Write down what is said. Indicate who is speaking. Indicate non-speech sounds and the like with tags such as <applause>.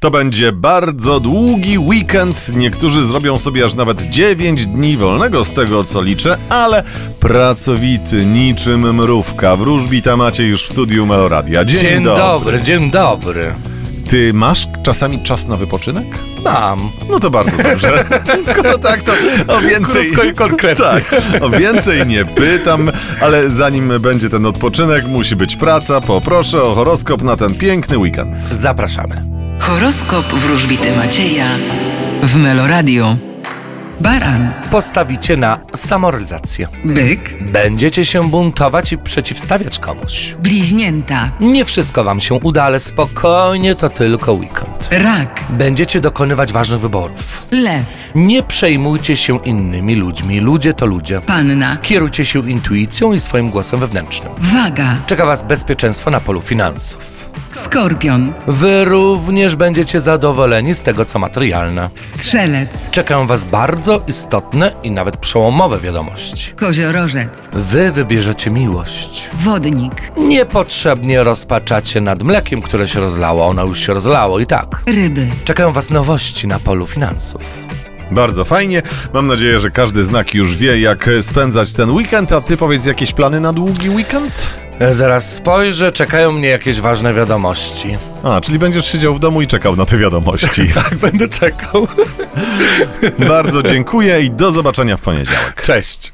Speaker 1: To będzie bardzo długi weekend. Niektórzy zrobią sobie aż nawet 9 dni wolnego z tego co liczę, ale pracowity niczym mrówka. Wróżbita macie już w studiu Meloradia. Dzień,
Speaker 2: Dzień
Speaker 1: dobry.
Speaker 2: dobry, dzień dobry.
Speaker 1: Ty masz czasami czas na wypoczynek?
Speaker 2: Mam.
Speaker 1: No to bardzo dobrze. <laughs> Skoro tak, to o więcej.
Speaker 2: Krótko i konkretnie.
Speaker 1: Tak, o więcej nie pytam, ale zanim będzie ten odpoczynek, musi być praca. Poproszę o horoskop na ten piękny weekend.
Speaker 2: Zapraszamy.
Speaker 3: Horoskop wróżbity Macieja w Meloradio. Baran,
Speaker 2: Postawicie na samorealizację.
Speaker 3: byk,
Speaker 2: Będziecie się buntować i przeciwstawiać komuś.
Speaker 3: bliźnięta,
Speaker 2: Nie wszystko wam się uda, ale spokojnie to tylko weekend.
Speaker 3: rak,
Speaker 2: Będziecie dokonywać ważnych wyborów.
Speaker 3: lew,
Speaker 2: Nie przejmujcie się innymi ludźmi. Ludzie to ludzie.
Speaker 3: panna,
Speaker 2: Kierujcie się intuicją i swoim głosem wewnętrznym.
Speaker 3: waga,
Speaker 2: Czeka was bezpieczeństwo na polu finansów.
Speaker 3: skorpion,
Speaker 2: Wy również będziecie zadowoleni z tego, co materialne.
Speaker 3: strzelec,
Speaker 2: Czekają Was bardzo istotne i nawet przełomowe wiadomości.
Speaker 3: koziorożec,
Speaker 2: Wy wybierzecie miłość.
Speaker 3: wodnik,
Speaker 2: Niepotrzebnie rozpaczacie nad mlekiem, które się rozlało, ono już się rozlało i tak.
Speaker 3: ryby.
Speaker 2: Czekają Was nowości na polu finansów.
Speaker 1: Bardzo fajnie. Mam nadzieję, że każdy znak już wie, jak spędzać ten weekend. A ty powiedz jakieś plany na długi weekend?
Speaker 2: E, Zaraz spojrzę, czekają mnie jakieś ważne wiadomości.
Speaker 1: A, czyli będziesz siedział w domu i czekał na te wiadomości.
Speaker 2: Tak, będę czekał.
Speaker 1: Bardzo dziękuję i do zobaczenia w poniedziałek.
Speaker 2: <laughs> Cześć.